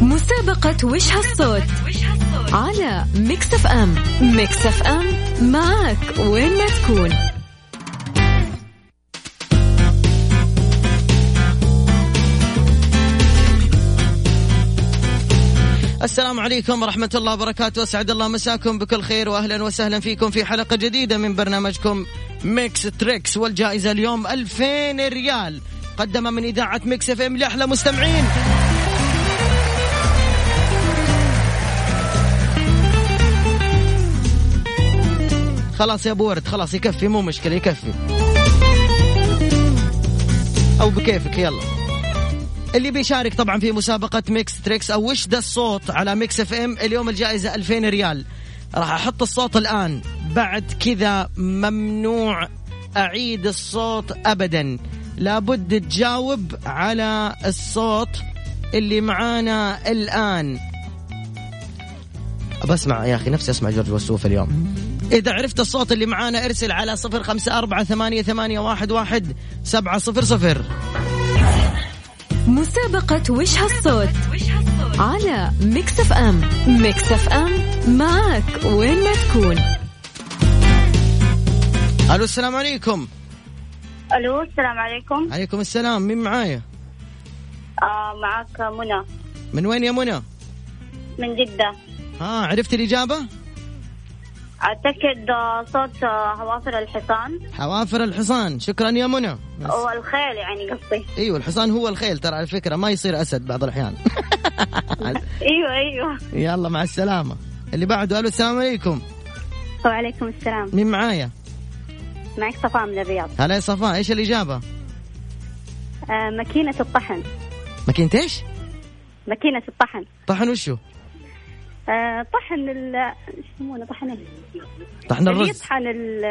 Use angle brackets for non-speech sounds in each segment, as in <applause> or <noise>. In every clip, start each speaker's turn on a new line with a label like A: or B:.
A: مسابقة وش هالصوت على ميكس اف ام ميكس اف ام معك وين ما تكون
B: السلام عليكم ورحمة الله وبركاته أسعد الله مساكم بكل خير وأهلا وسهلا فيكم في حلقة جديدة من برنامجكم ميكس تريكس والجائزة اليوم 2000 ريال قدمة من إذاعة ميكس اف ام لأحلى مستمعين خلاص يا أبو ورد خلاص يكفي مو مشكلة يكفي أو بكيفك يلا اللي بيشارك طبعا في مسابقة ميكس تريكس أو وش ده الصوت على ميكس اف ام اليوم الجائزة 2000 ريال راح أحط الصوت الآن بعد كذا ممنوع أعيد الصوت أبدا لابد تجاوب على الصوت اللي معانا الآن بسمع يا أخي نفسي أسمع جورج وسوف اليوم إذا عرفت الصوت اللي معانا ارسل على صفر خمسة أربعة ثمانية, ثمانية واحد, واحد سبعة صفر صفر
A: مسابقة وش هالصوت على ميكس اف ام ميكس اف ام معك وين ما تكون
B: ألو السلام عليكم
C: الو السلام عليكم
B: عليكم السلام مين معايا
C: آه معك منى
B: من وين يا منى
C: من جدة
B: ها عرفت الإجابة
C: اعتقد آه، صوت آه، حوافر الحصان
B: حوافر الحصان شكرا يا منى بس.
C: والخيل يعني قصدي
B: ايوه الحصان هو الخيل ترى على فكرة ما يصير أسد بعض الأحيان <laughs>
C: ايوه ايوه
B: يلا مع السلامة اللي بعده ألو السلام عليكم
C: وعليكم السلام
B: مين معايا
C: معك صفاء من الرياض
B: هلا يا صفاء إيش الإجابة
C: آه ماكينة الطحن
B: ماكينة إيش
C: ماكينة الطحن
B: طحن وشو
C: آه طحن ال إيش يسمونه طحن ال-
B: طحن
C: اللي
B: الرز
C: يطحن ال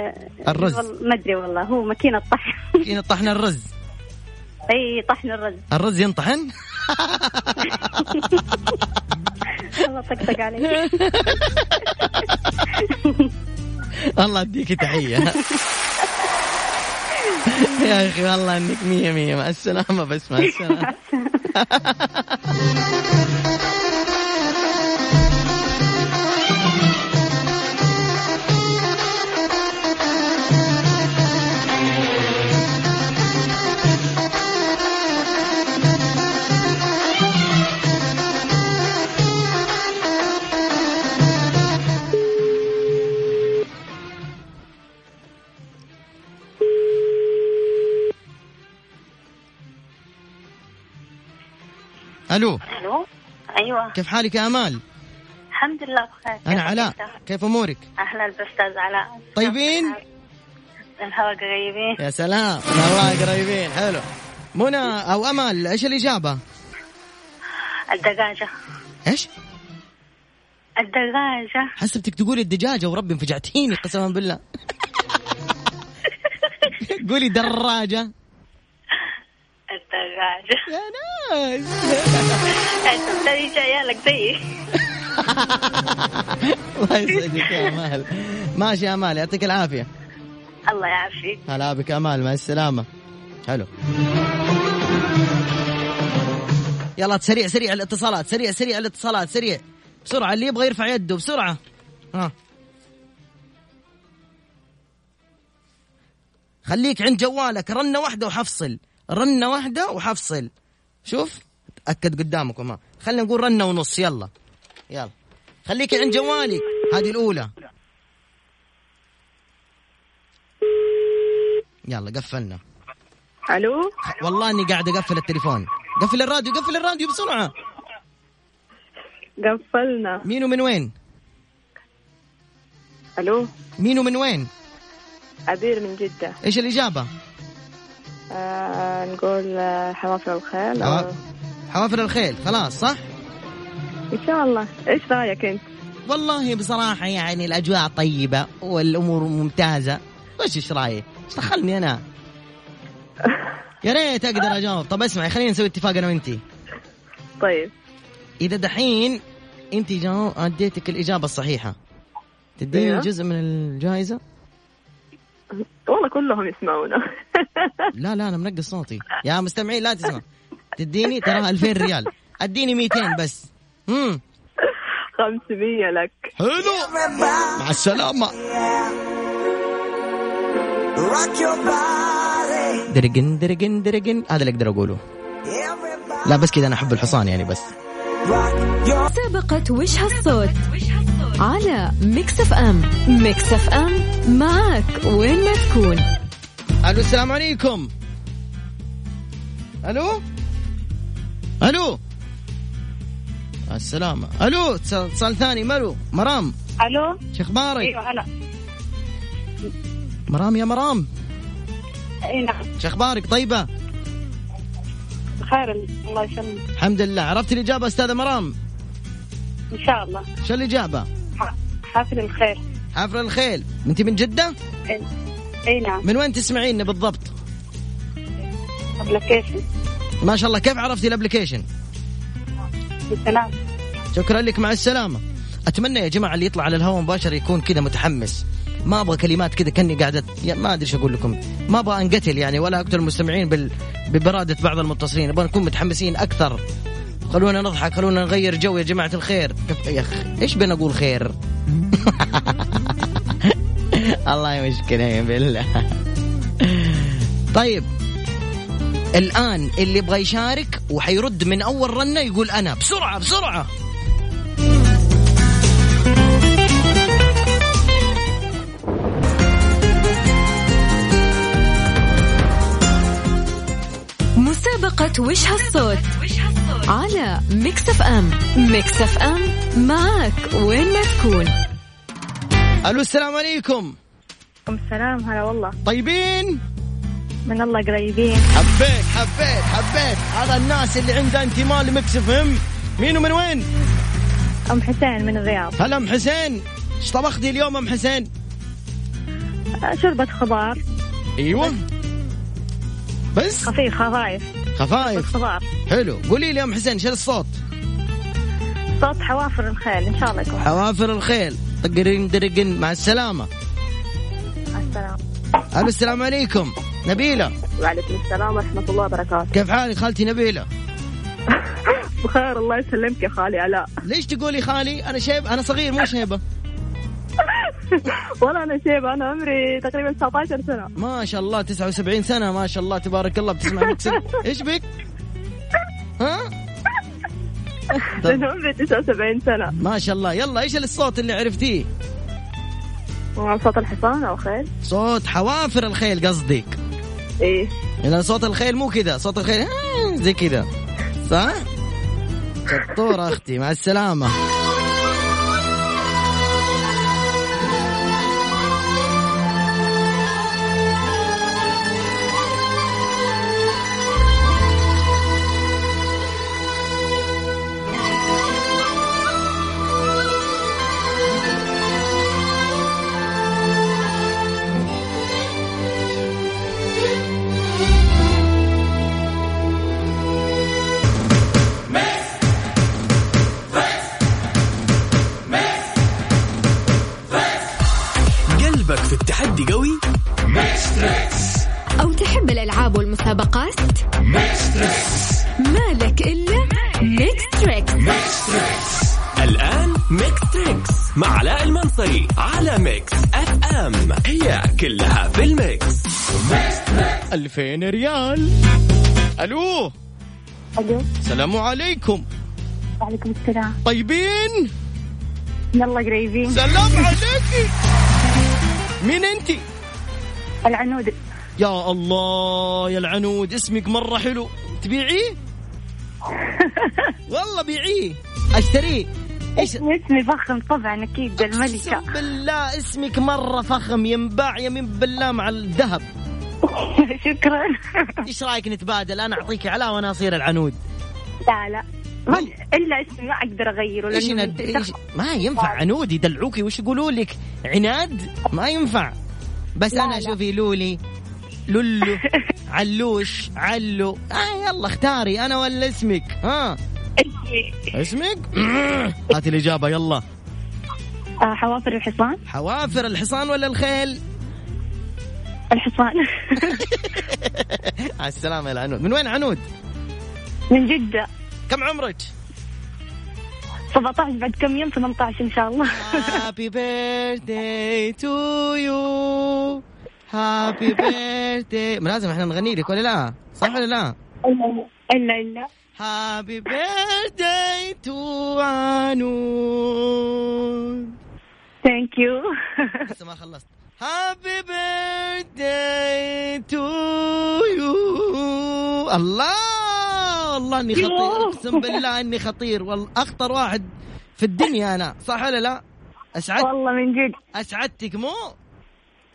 B: الرز.
C: والله- ما ادري والله هو ماكينة طحن
B: <laughs> ماكينة طحن الرز
C: اي طحن الرز
B: الرز ينطحن <laughs>
C: والله طقطق
B: <laughs>
C: عليك
B: الله يديك تحية <laughs> يا أخي والله إنك مية مية مع السلامة بس مع السلامة ألو
C: الو ايوه
B: كيف حالك يا آمال
C: الحمد لله بخير
B: أنا علاء كيف أمورك
C: اهلا باستاذ علاء
B: طيبين؟
C: الهواء قريبين
B: يا سلام والله قريبين حلو منى او امل ايش الاجابه؟
C: الدجاجة
B: ايش؟
C: الدجاجة
B: حسبتك تقولي الدجاجه وربي انفجعتيني قسما بالله <laughs> قولي دراجه
C: الدجاجة
B: يا ناس <laughs>
C: تدري جاية لك زيي
B: الله يسعدك يا امال ماشي يا امال يعطيك العافيه
C: الله يعافيك
B: هلا بك امال مع السلامه حلو يلا سريع سريع الاتصالات سريع سريع الاتصالات سريع بسرعه اللي يبغى يرفع يده بسرعه ها خليك عند جوالك رنه واحده وحفصل رنه واحده وحفصل شوف تاكد قدامكم ها خلينا نقول رنه ونص يلا يلا خليك عند جوالك هذه الاولى يلا قفلنا
C: الو
B: والله اني قاعد اقفل التليفون قفل الراديو قفل الراديو بسرعه
C: قفلنا
B: مين ومن وين
C: الو
B: مين ومن وين
C: عبير من جدة
B: ايش الاجابه
C: آه نقول آه، حوافر الخيل أو-
B: حوا- حوافر الخيل خلاص صح
C: ان شاء الله ايش رايك انت؟
B: والله بصراحه يعني الاجواء طيبه والامور ممتازه وش ايش رايك ايش دخلني انا يا ريت اقدر اجاوب طب اسمعي خلينا نسوي اتفاق انا وانتي
C: طيب
B: اذا دحين انت جاو اديتك الاجابه الصحيحه تديني
C: أيوه.
B: جزء من الجائزه
C: والله كلهم
D: <laughs>
C: يسمعونا
B: لا لا انا منقص صوتي يا مستمعين لا تسمع تديني ترى 2000 ريال اديني 200 بس امم
C: 500 لك
B: حلو مع السلامة درقن درقن درقن هذا اللي اقدر اقوله لا بس كذا انا احب الحصان يعني بس
A: مسابقة وش هالصوت على ميكس اف ام ميكس اف ام معك وين ما تكون
B: الو السلام عليكم الو الو السلامة الو اتصال ثاني ملو مرام
D: الو
B: شو اخبارك؟
D: ايوه هلا
B: مرام يا مرام
D: اي نعم
B: شو اخبارك طيبة؟
D: بخير الله يسلمك
B: الحمد لله عرفت الإجابة أستاذة مرام
D: ان شاء الله
B: شو الإجابة؟
D: ح- حافل الخير
B: حفر الخيل أنت من جدة؟
D: اي, أي نعم
B: من وين تسمعينا بالضبط؟
D: ابلكيشن
B: ما شاء الله كيف عرفتي الابلكيشن؟
D: بالسلام
B: شكرا لك مع السلامة أتمنى يا جماعة اللي يطلع على الهواء مباشر يكون كذا متحمس ما أبغى كلمات كذا كأني قاعدة يا- ما أدري إيش أقول لكم ما أبغى أنقتل يعني ولا أقتل المستمعين بال... ببرادة بعض المتصلين أبغى نكون متحمسين أكثر خلونا نضحك خلونا نغير جو يا جماعة الخير كف- يا أخي إيش بنقول خير <laughs> الله مشكلة بالله طيب الآن اللي يبغى يشارك وحيرد من أول رنة يقول أنا بسرعة بسرعة
A: مسابقة وش هالصوت على ميكس اف ام ميكس اف ام معك وين ما تكون
B: الو السلام عليكم
D: عليكم السلام هلا والله
B: طيبين
D: من الله قريبين
B: حبيت حبيت حبيت هذا الناس اللي عندها انتماء لمكس اف ام مين ومن وين
D: ام حسين من الرياض
B: هلا ام حسين ايش طبختي اليوم ام حسين
D: شوربة آه، خضار
B: ايوه بس
D: خفيف خفايف
B: خفايف
D: خضار
B: حلو قولي لي يا ام حسين شيل الصوت
D: صوت حوافر الخيل ان شاء الله يكون
B: حوافر الخيل طقرين درقن مع السلامه
D: مع السلامة
B: الو السلام عليكم نبيله
D: وعليكم السلام ورحمة الله وبركاته <laughs>
B: كيف حالك خالتي نبيله
D: بخير الله يسلمك يا خالي علاء <laughs>
B: ليش تقولي خالي انا شيب انا صغير مو شيبه
D: والله انا شيبة انا عمري تقريبا 19 سنة
B: ما شاء الله 79 سنة ما شاء الله تبارك الله بتسمع مكسب ايش بك؟ ها؟ طب
E: طيب.
D: لأن عمري 79 سنة
B: ما شاء الله يلا ايش الصوت اللي عرفتيه؟
D: صوت الحصان او خيل
B: صوت حوافر الخيل قصدك
D: ايه
B: لان صوت الخيل مو كذا صوت الخيل آه، زي كذا صح؟ شطورة اختي مع السلامة
F: قلبك في التحدي قوي
A: أو تحب الألعاب والمسابقات مالك إلا ميكس تريكس
F: الآن ميكس تريكس مع علاء المنصري على ميكس اف ام هي كلها في الميكس
B: 2000 ريال الو
D: الو
B: السلام عليكم
D: وعليكم السلام
B: طيبين؟
D: يلا قريبين
B: سلام عليكي مين انتي؟
D: العنود
B: يا الله يا العنود اسمك مرة حلو
D: <laughs>
B: تبيعيه؟ والله بيعيه اشتريه ايش
D: اسمي فخم طبعا اكيد <laughs> الملكة
B: أقسم بالله اسمك مرة فخم ينباع يمين بالله مع الذهب
D: شكرا
B: ايش رايك نتبادل انا اعطيك علاء وانا اصير العنود
D: لا لا ما- الا اسمي ما اقدر اغيره
B: ايش
D: لانه
B: ند...
D: من-
B: ايش... ما ينفع عنود يدلعوكي وش يقولوا لك عناد ما ينفع بس انا
D: لا.
B: شوفي لولي
D: <laughs>
B: لولو علوش علو آه يلا اختاري انا ولا اسمك ها
D: اسمي
B: اسمك <clears throat> هات الإجابة يلا
D: آه، حوافر الحصان
B: حوافر الحصان ولا الخيل <laughs>
D: الحصان <laughs>
B: على السلامة يا العنود من وين عنود
D: من جدة
B: كم عمرك
D: 17 بعد كم يوم 18 ان شاء الله
B: هابي بيرثداي تو يو هابي بيرثداي <laughs> لازم احنا نغني لك ولا لا؟ صح ولا لا؟
D: الا الا
B: هابي بيرثداي تو
D: <laughs>
B: عنود
D: ثانك يو
B: لسه ما خلصت هابي بيرثداي تو يو الله والله اني خطير
D: يوه.
B: اقسم بالله اني خطير والله اخطر واحد في الدنيا انا صح ولا لا؟ اسعدت
D: <laughs> والله من جد
B: اسعدتك مو؟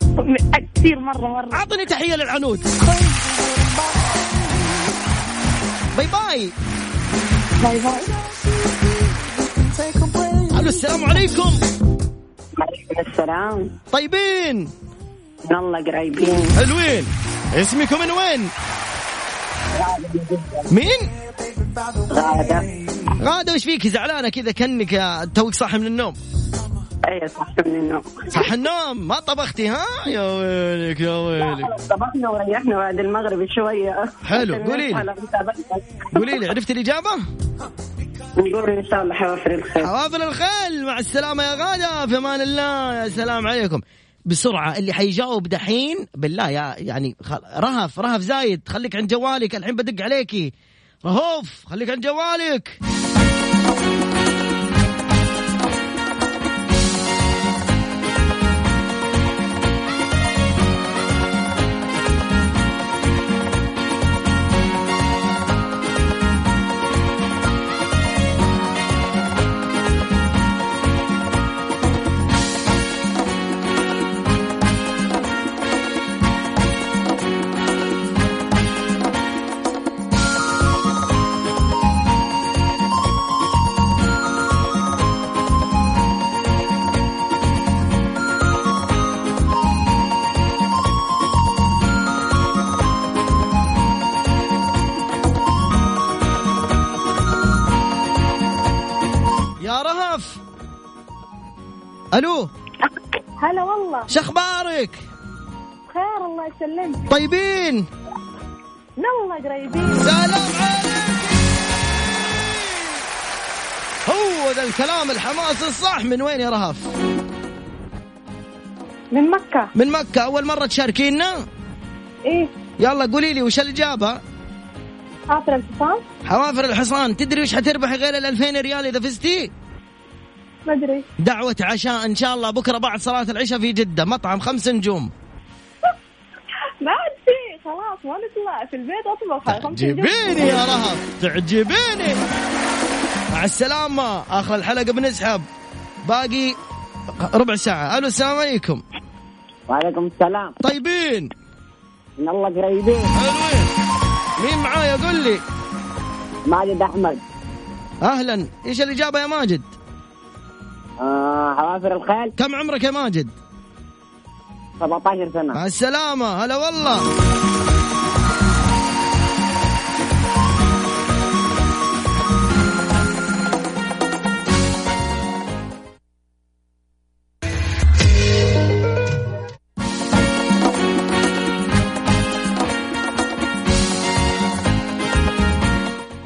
D: م- كثير مره مره
B: اعطني تحيه للعنود باي باي
D: باي باي
B: الو السلام عليكم
G: عليكم السلام
B: طيبين
G: من الله قريبين
B: حلوين اسمكم من وين؟ مين؟
G: غادة
B: غادة وش فيك زعلانة كذا كأنك آه، توك صاحي من النوم
G: اي صح من النوم
B: صح النوم ما طبختي ها يا ويلك يا ويلك
G: طبخنا وريحنا بعد المغرب شوية
B: حلو، قولي لي. قولي لي عرفت الإجابة؟
G: نقول ان شاء الله حوافر الخير
B: حوافل الخيل مع السلامة يا غادة في أمان الله يا سلام عليكم بسرعة اللي حيجاوب دحين بالله يا يعني خل... رهف رهف زايد خليك عند جوالك الحين بدق عليكي رهوف خليك عند جوالك يا رهف الو
D: هلا والله
B: شخبارك
D: خير الله يسلمك
B: طيبين
D: من الله قريبين
B: سلام عليك هو ذا الكلام الحماس الصح من وين يا رهف
D: من مكه
B: من مكة أول مرة تشاركينا
D: ايه
B: يلا قولي لي وش الإجابة
D: حاطه الانفصام
B: حوافر الحصان تدري وش حتربحي غير ال 2000 ريال إذا فزتي
D: ما ادري
B: دعوة عشاء إن شاء الله بكرة بعد صلاة العشاء في جدة مطعم خمس نجوم
D: ما عاد في خلاص ما نطلع في البيت اطبخ
B: تعجبيني يا رهف تعجبيني مع السلامة آخر الحلقة بنسحب باقي ربع ساعة ألو السلام عليكم
G: وعليكم السلام
B: طيبين
G: من الله قريبين
B: حلوين مين معايا قول لي
G: ماجد احمد
B: اهلا ايش الاجابه يا ماجد
G: آه حوافر الخيل
B: كم عمرك يا ماجد
G: 17 سنة
B: مع السلامه هلا والله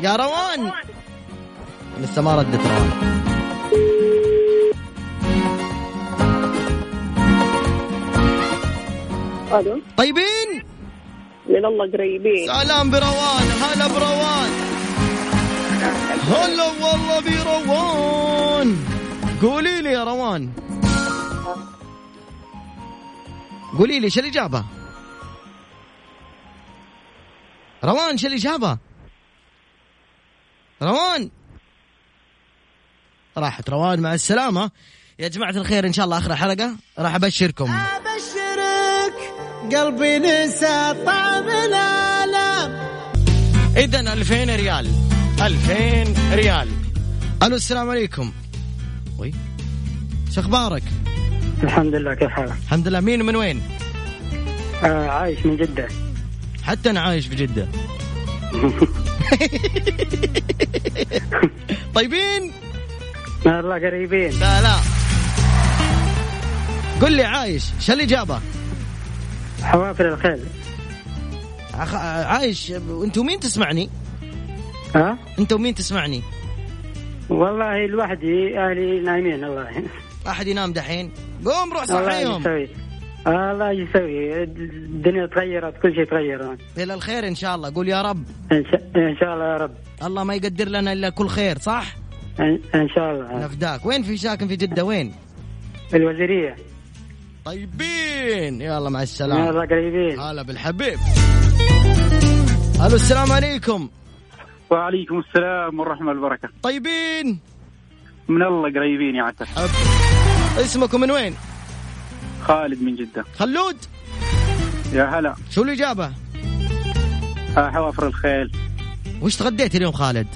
B: يا روان لسه ما ردت روان
C: الو
B: طيبين
C: من الله قريبين
B: سلام بروان هلا بروان هلا والله بروان قولي لي يا روان قولي لي شو الإجابة روان شو الإجابة روان راحت روان مع السلامة يا جماعة الخير إن شاء الله آخر حلقة راح أبشركم أبشرك قلبي نسى طعم الآلام إذا 2000 ريال 2000 ريال ألو السلام عليكم وي شو أخبارك؟
H: الحمد لله كيف حالك؟
B: الحمد لله مين من وين؟
H: آه عايش من جدة
B: حتى أنا عايش في <laughs> جدة طيبين؟
H: من الله قريبين
B: لا لا قل لي عايش شو الإجابة؟
H: حوافر الخيل
B: أخ- عايش انتوا مين تسمعني؟
H: ها؟
B: انت ومين تسمعني؟
H: والله لوحدي اهلي نايمين الله
B: احد ينام دحين قوم روح
H: الله
B: صحيهم
H: يسوي آه، الله يسوي الدنيا تغيرت كل شيء تغير
B: الى الخير ان شاء الله قول يا رب
H: ان شاء, إن شاء الله يا رب
B: الله ما يقدر لنا الا كل خير صح
H: ان, إن شاء
I: آه. نعم.
H: الله
B: نفداك وين في ساكن في جده وين
H: الوزيريه
B: طيبين يلا مع
H: من
B: السلامه
H: الله قريبين
I: آه.
B: هلا بالحبيب الو السلام عليكم
I: وعليكم السلام والرحمة والبركة
B: طيبين
I: من الله قريبين يا عسل
B: حب. اسمكم من وين
I: خالد من جدة
B: خلود
I: يا هلا
B: شو الاجابه
I: آه، حوافر الخيل
B: وش تغديت اليوم خالد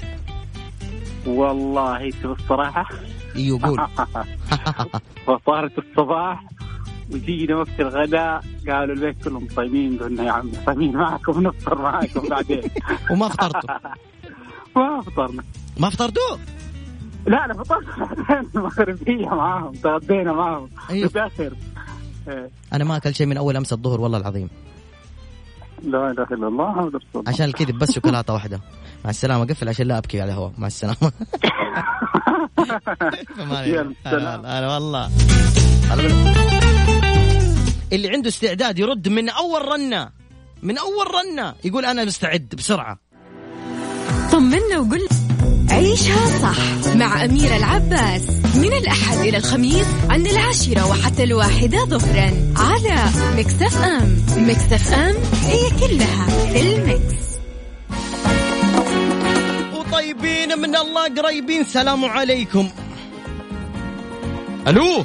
I: والله تبي الصراحة
B: ايوه قول
I: <laughs> فطارت الصباح وجينا وقت الغداء قالوا البيت كلهم صايمين قلنا يا عم صايمين معكم نفطر معكم بعدين
B: <laughs> وما فطرتوا
I: <laughs> ما فطرنا
B: ما فطرتوا
I: لا لا فطرنا <laughs> بعدين المغربية معاهم تغدينا معاهم
B: أيوة.
I: متأخر إيه.
B: انا ما اكل شيء من اول امس الظهر والله العظيم
I: لا اله الا الله محمد رسول الله
B: عشان
I: <laughs>
B: الكذب بس شوكولاته واحده مع السلامه قفل عشان لا ابكي على الهواء مع السلامه فما علينا.
I: يا سلام.
B: هلا هلا والله هلا بال- اللي عنده استعداد يرد من اول رنه من اول رنه يقول انا مستعد بسرعه
A: طمنا وقل عيشها صح مع أميرة العباس من الأحد إلى الخميس عند العاشرة وحتى الواحدة ظهرا على مكسف أم مكسف أم هي كلها في المكس
B: وطيبين من الله قريبين سلام عليكم الو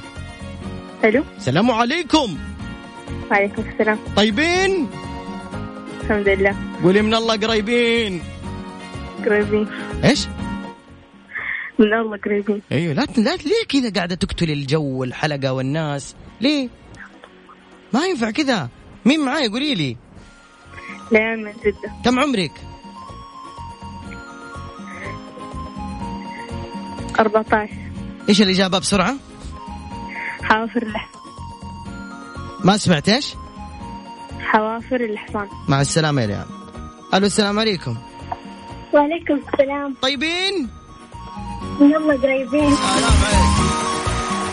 D: الو
B: سلام عليكم
D: وعليكم السلام
B: طيبين
D: الحمد لله
B: قولي من الله قريبين
D: قريبين
B: ايش
D: من الله قريبين
B: ايوه لا لا ليه كذا قاعده تقتل الجو والحلقه والناس ليه ما ينفع كذا مين معاي قولي لي
D: لين من جدة
B: كم عمرك
D: 14
B: ايش الاجابه بسرعه
D: حوافر الحصان
B: ما سمعت ايش
D: حوافر الحصان
B: مع السلامه يا ريان الو السلام عليكم
D: وعليكم السلام
B: طيبين
D: من الله قريبين
B: سلام عليكم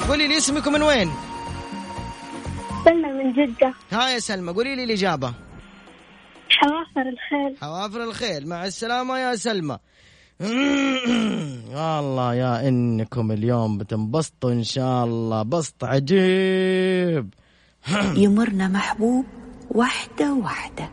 B: قولي لي اسمكم من وين
D: سلمى من جدة
B: ها يا سلمى قولي لي الاجابه
D: حوافر الخيل
B: حوافر الخيل مع السلامة يا سلمى <clears throat> والله يا انكم اليوم بتنبسطوا ان شاء الله بسط عجيب
J: يمرنا محبوب واحدة واحدة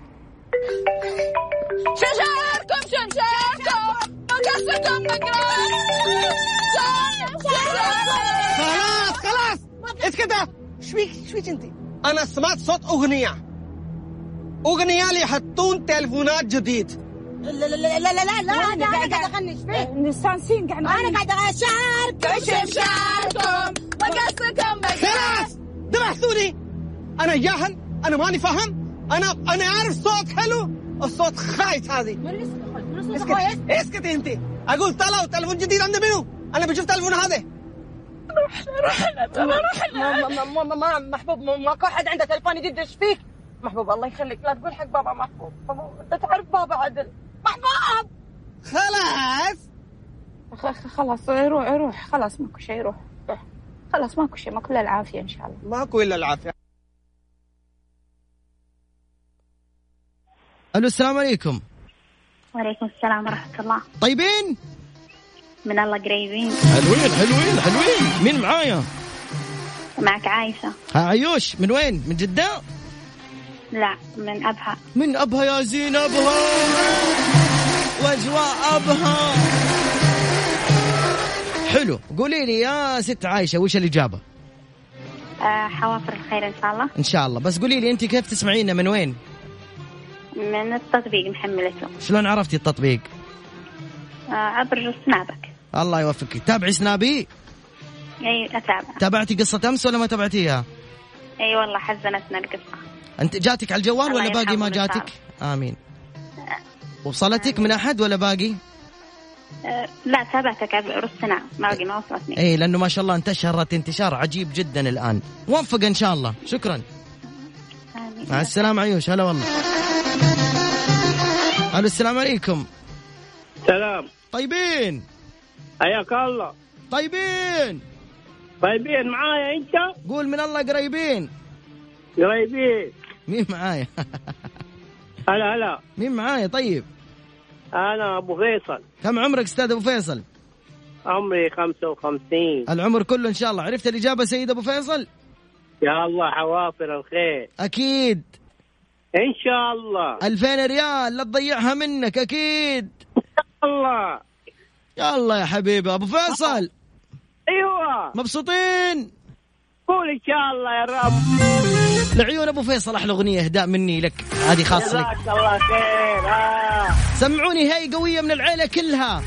K: خلاص خلاص اسكت ايش فيك ايش فيك انت انا سمعت صوت اغنيه اغنيه ليحطون تلفونات جديد
J: لا لا لا لا لا لا انا قاعدة اغني ايش فيك؟ مستانسين قاعد انا قاعدة اشاركم شمشاركم وقصكم
K: خلاص ذبحتوني انا جاهل انا ماني فاهم انا انا عارف صوت حلو الصوت خايس هذه اسكت اسكت انت اقول طلعوا تلفون جديد عند منو انا بشوف تلفون هذا
J: ما محبوب ماكو احد عنده تلفون جديد ايش فيك؟ محبوب الله يخليك لا تقول حق بابا محبوب محبوب انت تعرف بابا عدل محبوب
K: خلاص
J: خ- خلاص روح روح خلاص ماكو شيء روح روح خلاص ماكو شيء ماكو الا العافيه ان شاء الله
K: ماكو الا العافيه
B: الو السلام عليكم
D: وعليكم السلام ورحمة الله
B: طيبين
D: من الله قريبين
B: حلوين حلوين حلوين مين معايا
D: معك عايشة
B: ها عيوش من وين من جدة
D: لا من أبها
B: من ابها يا زين ابها واجواء ابها حلو قولي لي يا ست عايشة وش الاجابة
D: آه حوافر الخير إن شاء الله
B: ان شاء الله بس قولي لي انت كيف تسمعينا من وين
D: من التطبيق محملته
B: شلون عرفتي التطبيق
D: آه عبر سنابك
B: الله يوفقك تابعي سنابي
D: أي أتابع
B: تابعتي قصة أمس ولا ما تابعتيها
D: أي والله حزنتنا القصة
B: أنت جاتك على الجوال
D: الله
B: ولا باقي ما
D: يرحمه
B: جاتك آمين وصلتك من أحد ولا باقي
D: آه لا تابعتك عبر السناب ما باقي ما وصلتني
B: أي إيه، لأنه ما شاء الله انتشرت انتشار عجيب جدا الآن موفق إن شاء الله شكرا
D: آمين.
B: مع السلامة عيوش هلا والله ألو السلام عليكم
H: سلام
B: طيبين
L: حياك الله
B: طيبين
L: طيبين معايا انت
B: قول من الله قريبين
L: قريبين
B: مين معايا <laughs>
L: هلا هلا
B: مين معايا طيب
L: انا ابو فيصل
B: كم عمرك استاذ ابو فيصل
L: عمري 55
B: العمر كله ان شاء الله عرفت الاجابه سيد ابو فيصل
L: يا الله حوافر الخير
B: اكيد
L: ان شاء الله
B: 2000 ريال لا تضيعها منك اكيد
L: الله
B: يا الله يا حبيبي ابو فيصل
D: أيوة.
L: ايوه
B: مبسوطين
L: قول ان شاء الله يا رب
B: لعيون ابو فيصل احلى اغنيه اهداء مني لك هذه خاصه لك
L: جزاك الله خير آه.
B: سمعوني هاي قويه من العيله كلها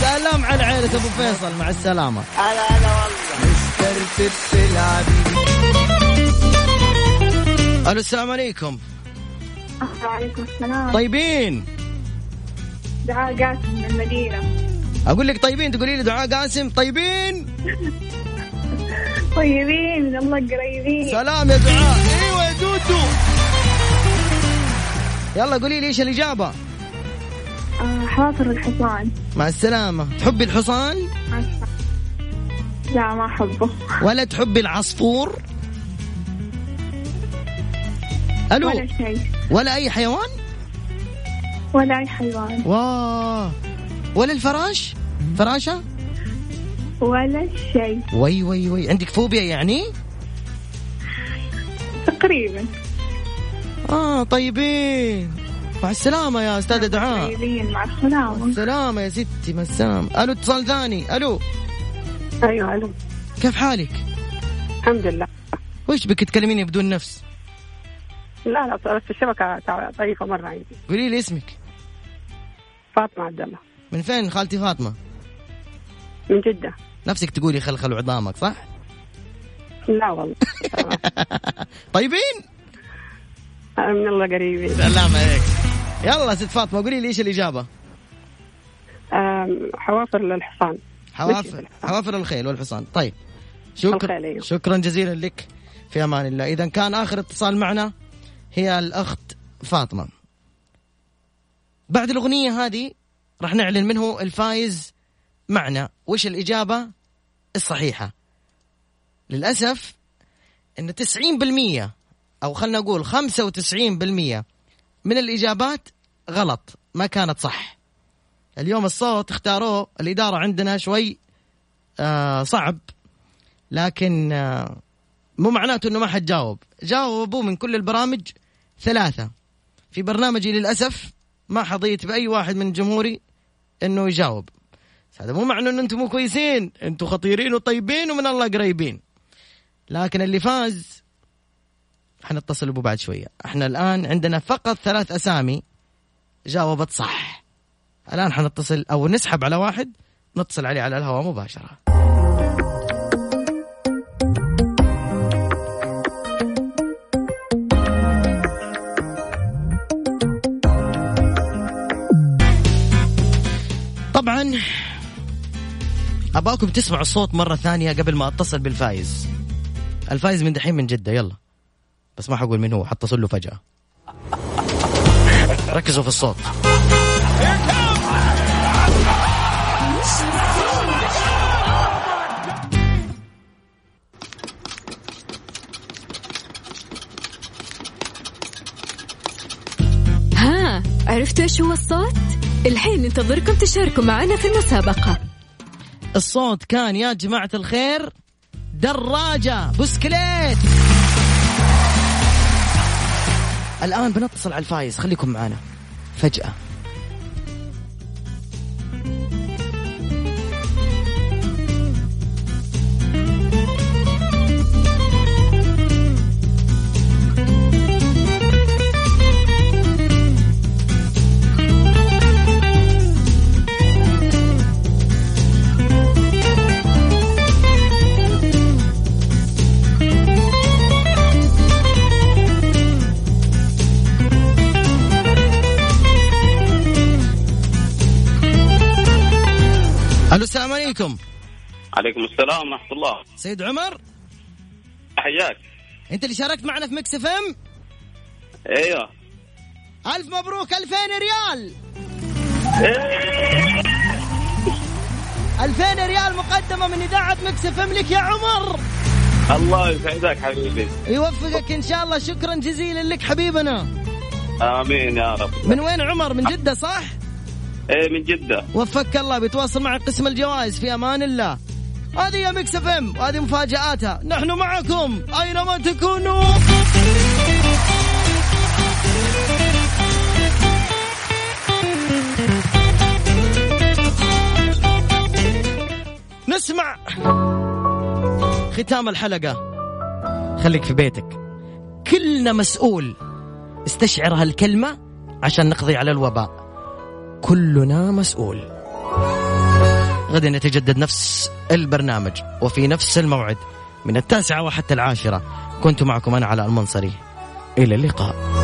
B: سلام على عيلة ابو فيصل مع السلامة
L: هلا هلا والله
B: مسترتب تلعبي الو السلام عليكم
D: وعليكم السلام
B: طيبين
D: دعاء قاسم من المدينة
B: اقول لك طيبين تقولي لي دعاء قاسم طيبين
D: طيبين من الله قريبين
B: سلام يا دعاء ايوه يا دودو يلا قولي لي ايش الاجابة
D: آه، حواصر الحصان
B: مع السلامة تحبي الحصان
D: لا ما أحبه
B: ولا تحبي العصفور الو
D: ولا شيء
B: ولا اي حيوان
D: ولا أي حيوان
B: واه ولا الفراش فراشة
D: ولا شيء
B: وي وي وي عندك فوبيا يعني
D: تقريبا
B: اه طيبين مع السلامة يا أستاذة دعاء
D: طيبين مع السلامة
B: السلامة يا ستي مع السلامة ألو اتصال ثاني ألو
E: ايوه الو
B: كيف حالك؟
E: الحمد لله
B: وش بك تكلميني بدون نفس؟
E: لا لا بس الشبكه تع- ضعيفه مره عندي
B: قولي لي اسمك
E: فاطمه عبد الله
B: من فين خالتي فاطمة؟
E: من جده
B: نفسك تقولي خلخل عظامك صح؟
E: لا والله
B: طيبين؟
E: من الله قريبين
B: سلام عليك يلا ست فاطمة قولي لي ايش الإجابة؟
E: آم، حوافر للحصان مشي.
B: حوافر حوافر الخيل والحصان طيب شكرا
E: الخيل، أيوه.
B: شكرا جزيلا لك في امان الله اذا كان اخر اتصال معنا هي الاخت فاطمه بعد الاغنيه هذه راح نعلن منه الفايز معنا وش الاجابه الصحيحه للاسف ان 90% او خلنا نقول 95% من الاجابات غلط ما كانت صح اليوم الصوت اختاروه الاداره عندنا شوي آه صعب لكن آه مو معناته انه ما حد جاوب جاوبوا من كل البرامج ثلاثه في برنامجي للاسف ما حظيت باي واحد من جمهوري انه يجاوب بس هذا مو معناه ان انتم مو كويسين انتم خطيرين وطيبين ومن الله قريبين لكن اللي فاز حنتصل به بعد شويه احنا الان عندنا فقط ثلاث اسامي جاوبت صح الان حنتصل او نسحب على واحد نتصل عليه على الهواء مباشره طبعا اباكم تسمعوا الصوت مره ثانيه قبل ما اتصل بالفايز الفايز من دحين من جده يلا بس ما حقول مين هو حتصل له فجاه ركزوا في الصوت
A: ها عرفتوا ايش هو الصوت؟ الحين ننتظركم تشاركوا معنا في المسابقة
B: الصوت كان يا جماعة الخير دراجة بسكليت الآن بنتصل على الفايز خليكم معنا فجأة ألو السلام عليكم
M: عليكم السلام ورحمة الله
B: سيد عمر
M: حياك
B: أنت اللي شاركت معنا في ميكس اف ام
M: ايوه
B: ألف مبروك 2000 ريال 2000 ريال مقدمة من إذاعة مكس اف ام لك يا عمر
M: الله يسعدك حبيبي
B: يوفقك إن شاء الله شكرا جزيلا لك حبيبنا
M: امين يا رب
B: من وين عمر من جدة صح؟
M: ايه من جده
B: وفقك الله بيتواصل مع قسم الجوائز في امان الله هذه يا ميكس اف ام وهذه مفاجاتها نحن معكم اينما تكونوا نسمع ختام الحلقه خليك في بيتك كلنا مسؤول استشعر هالكلمه عشان نقضي على الوباء كلنا مسؤول غدا يتجدد نفس البرنامج وفي نفس الموعد من التاسعة وحتى العاشرة كنت معكم أنا على المنصري إلى اللقاء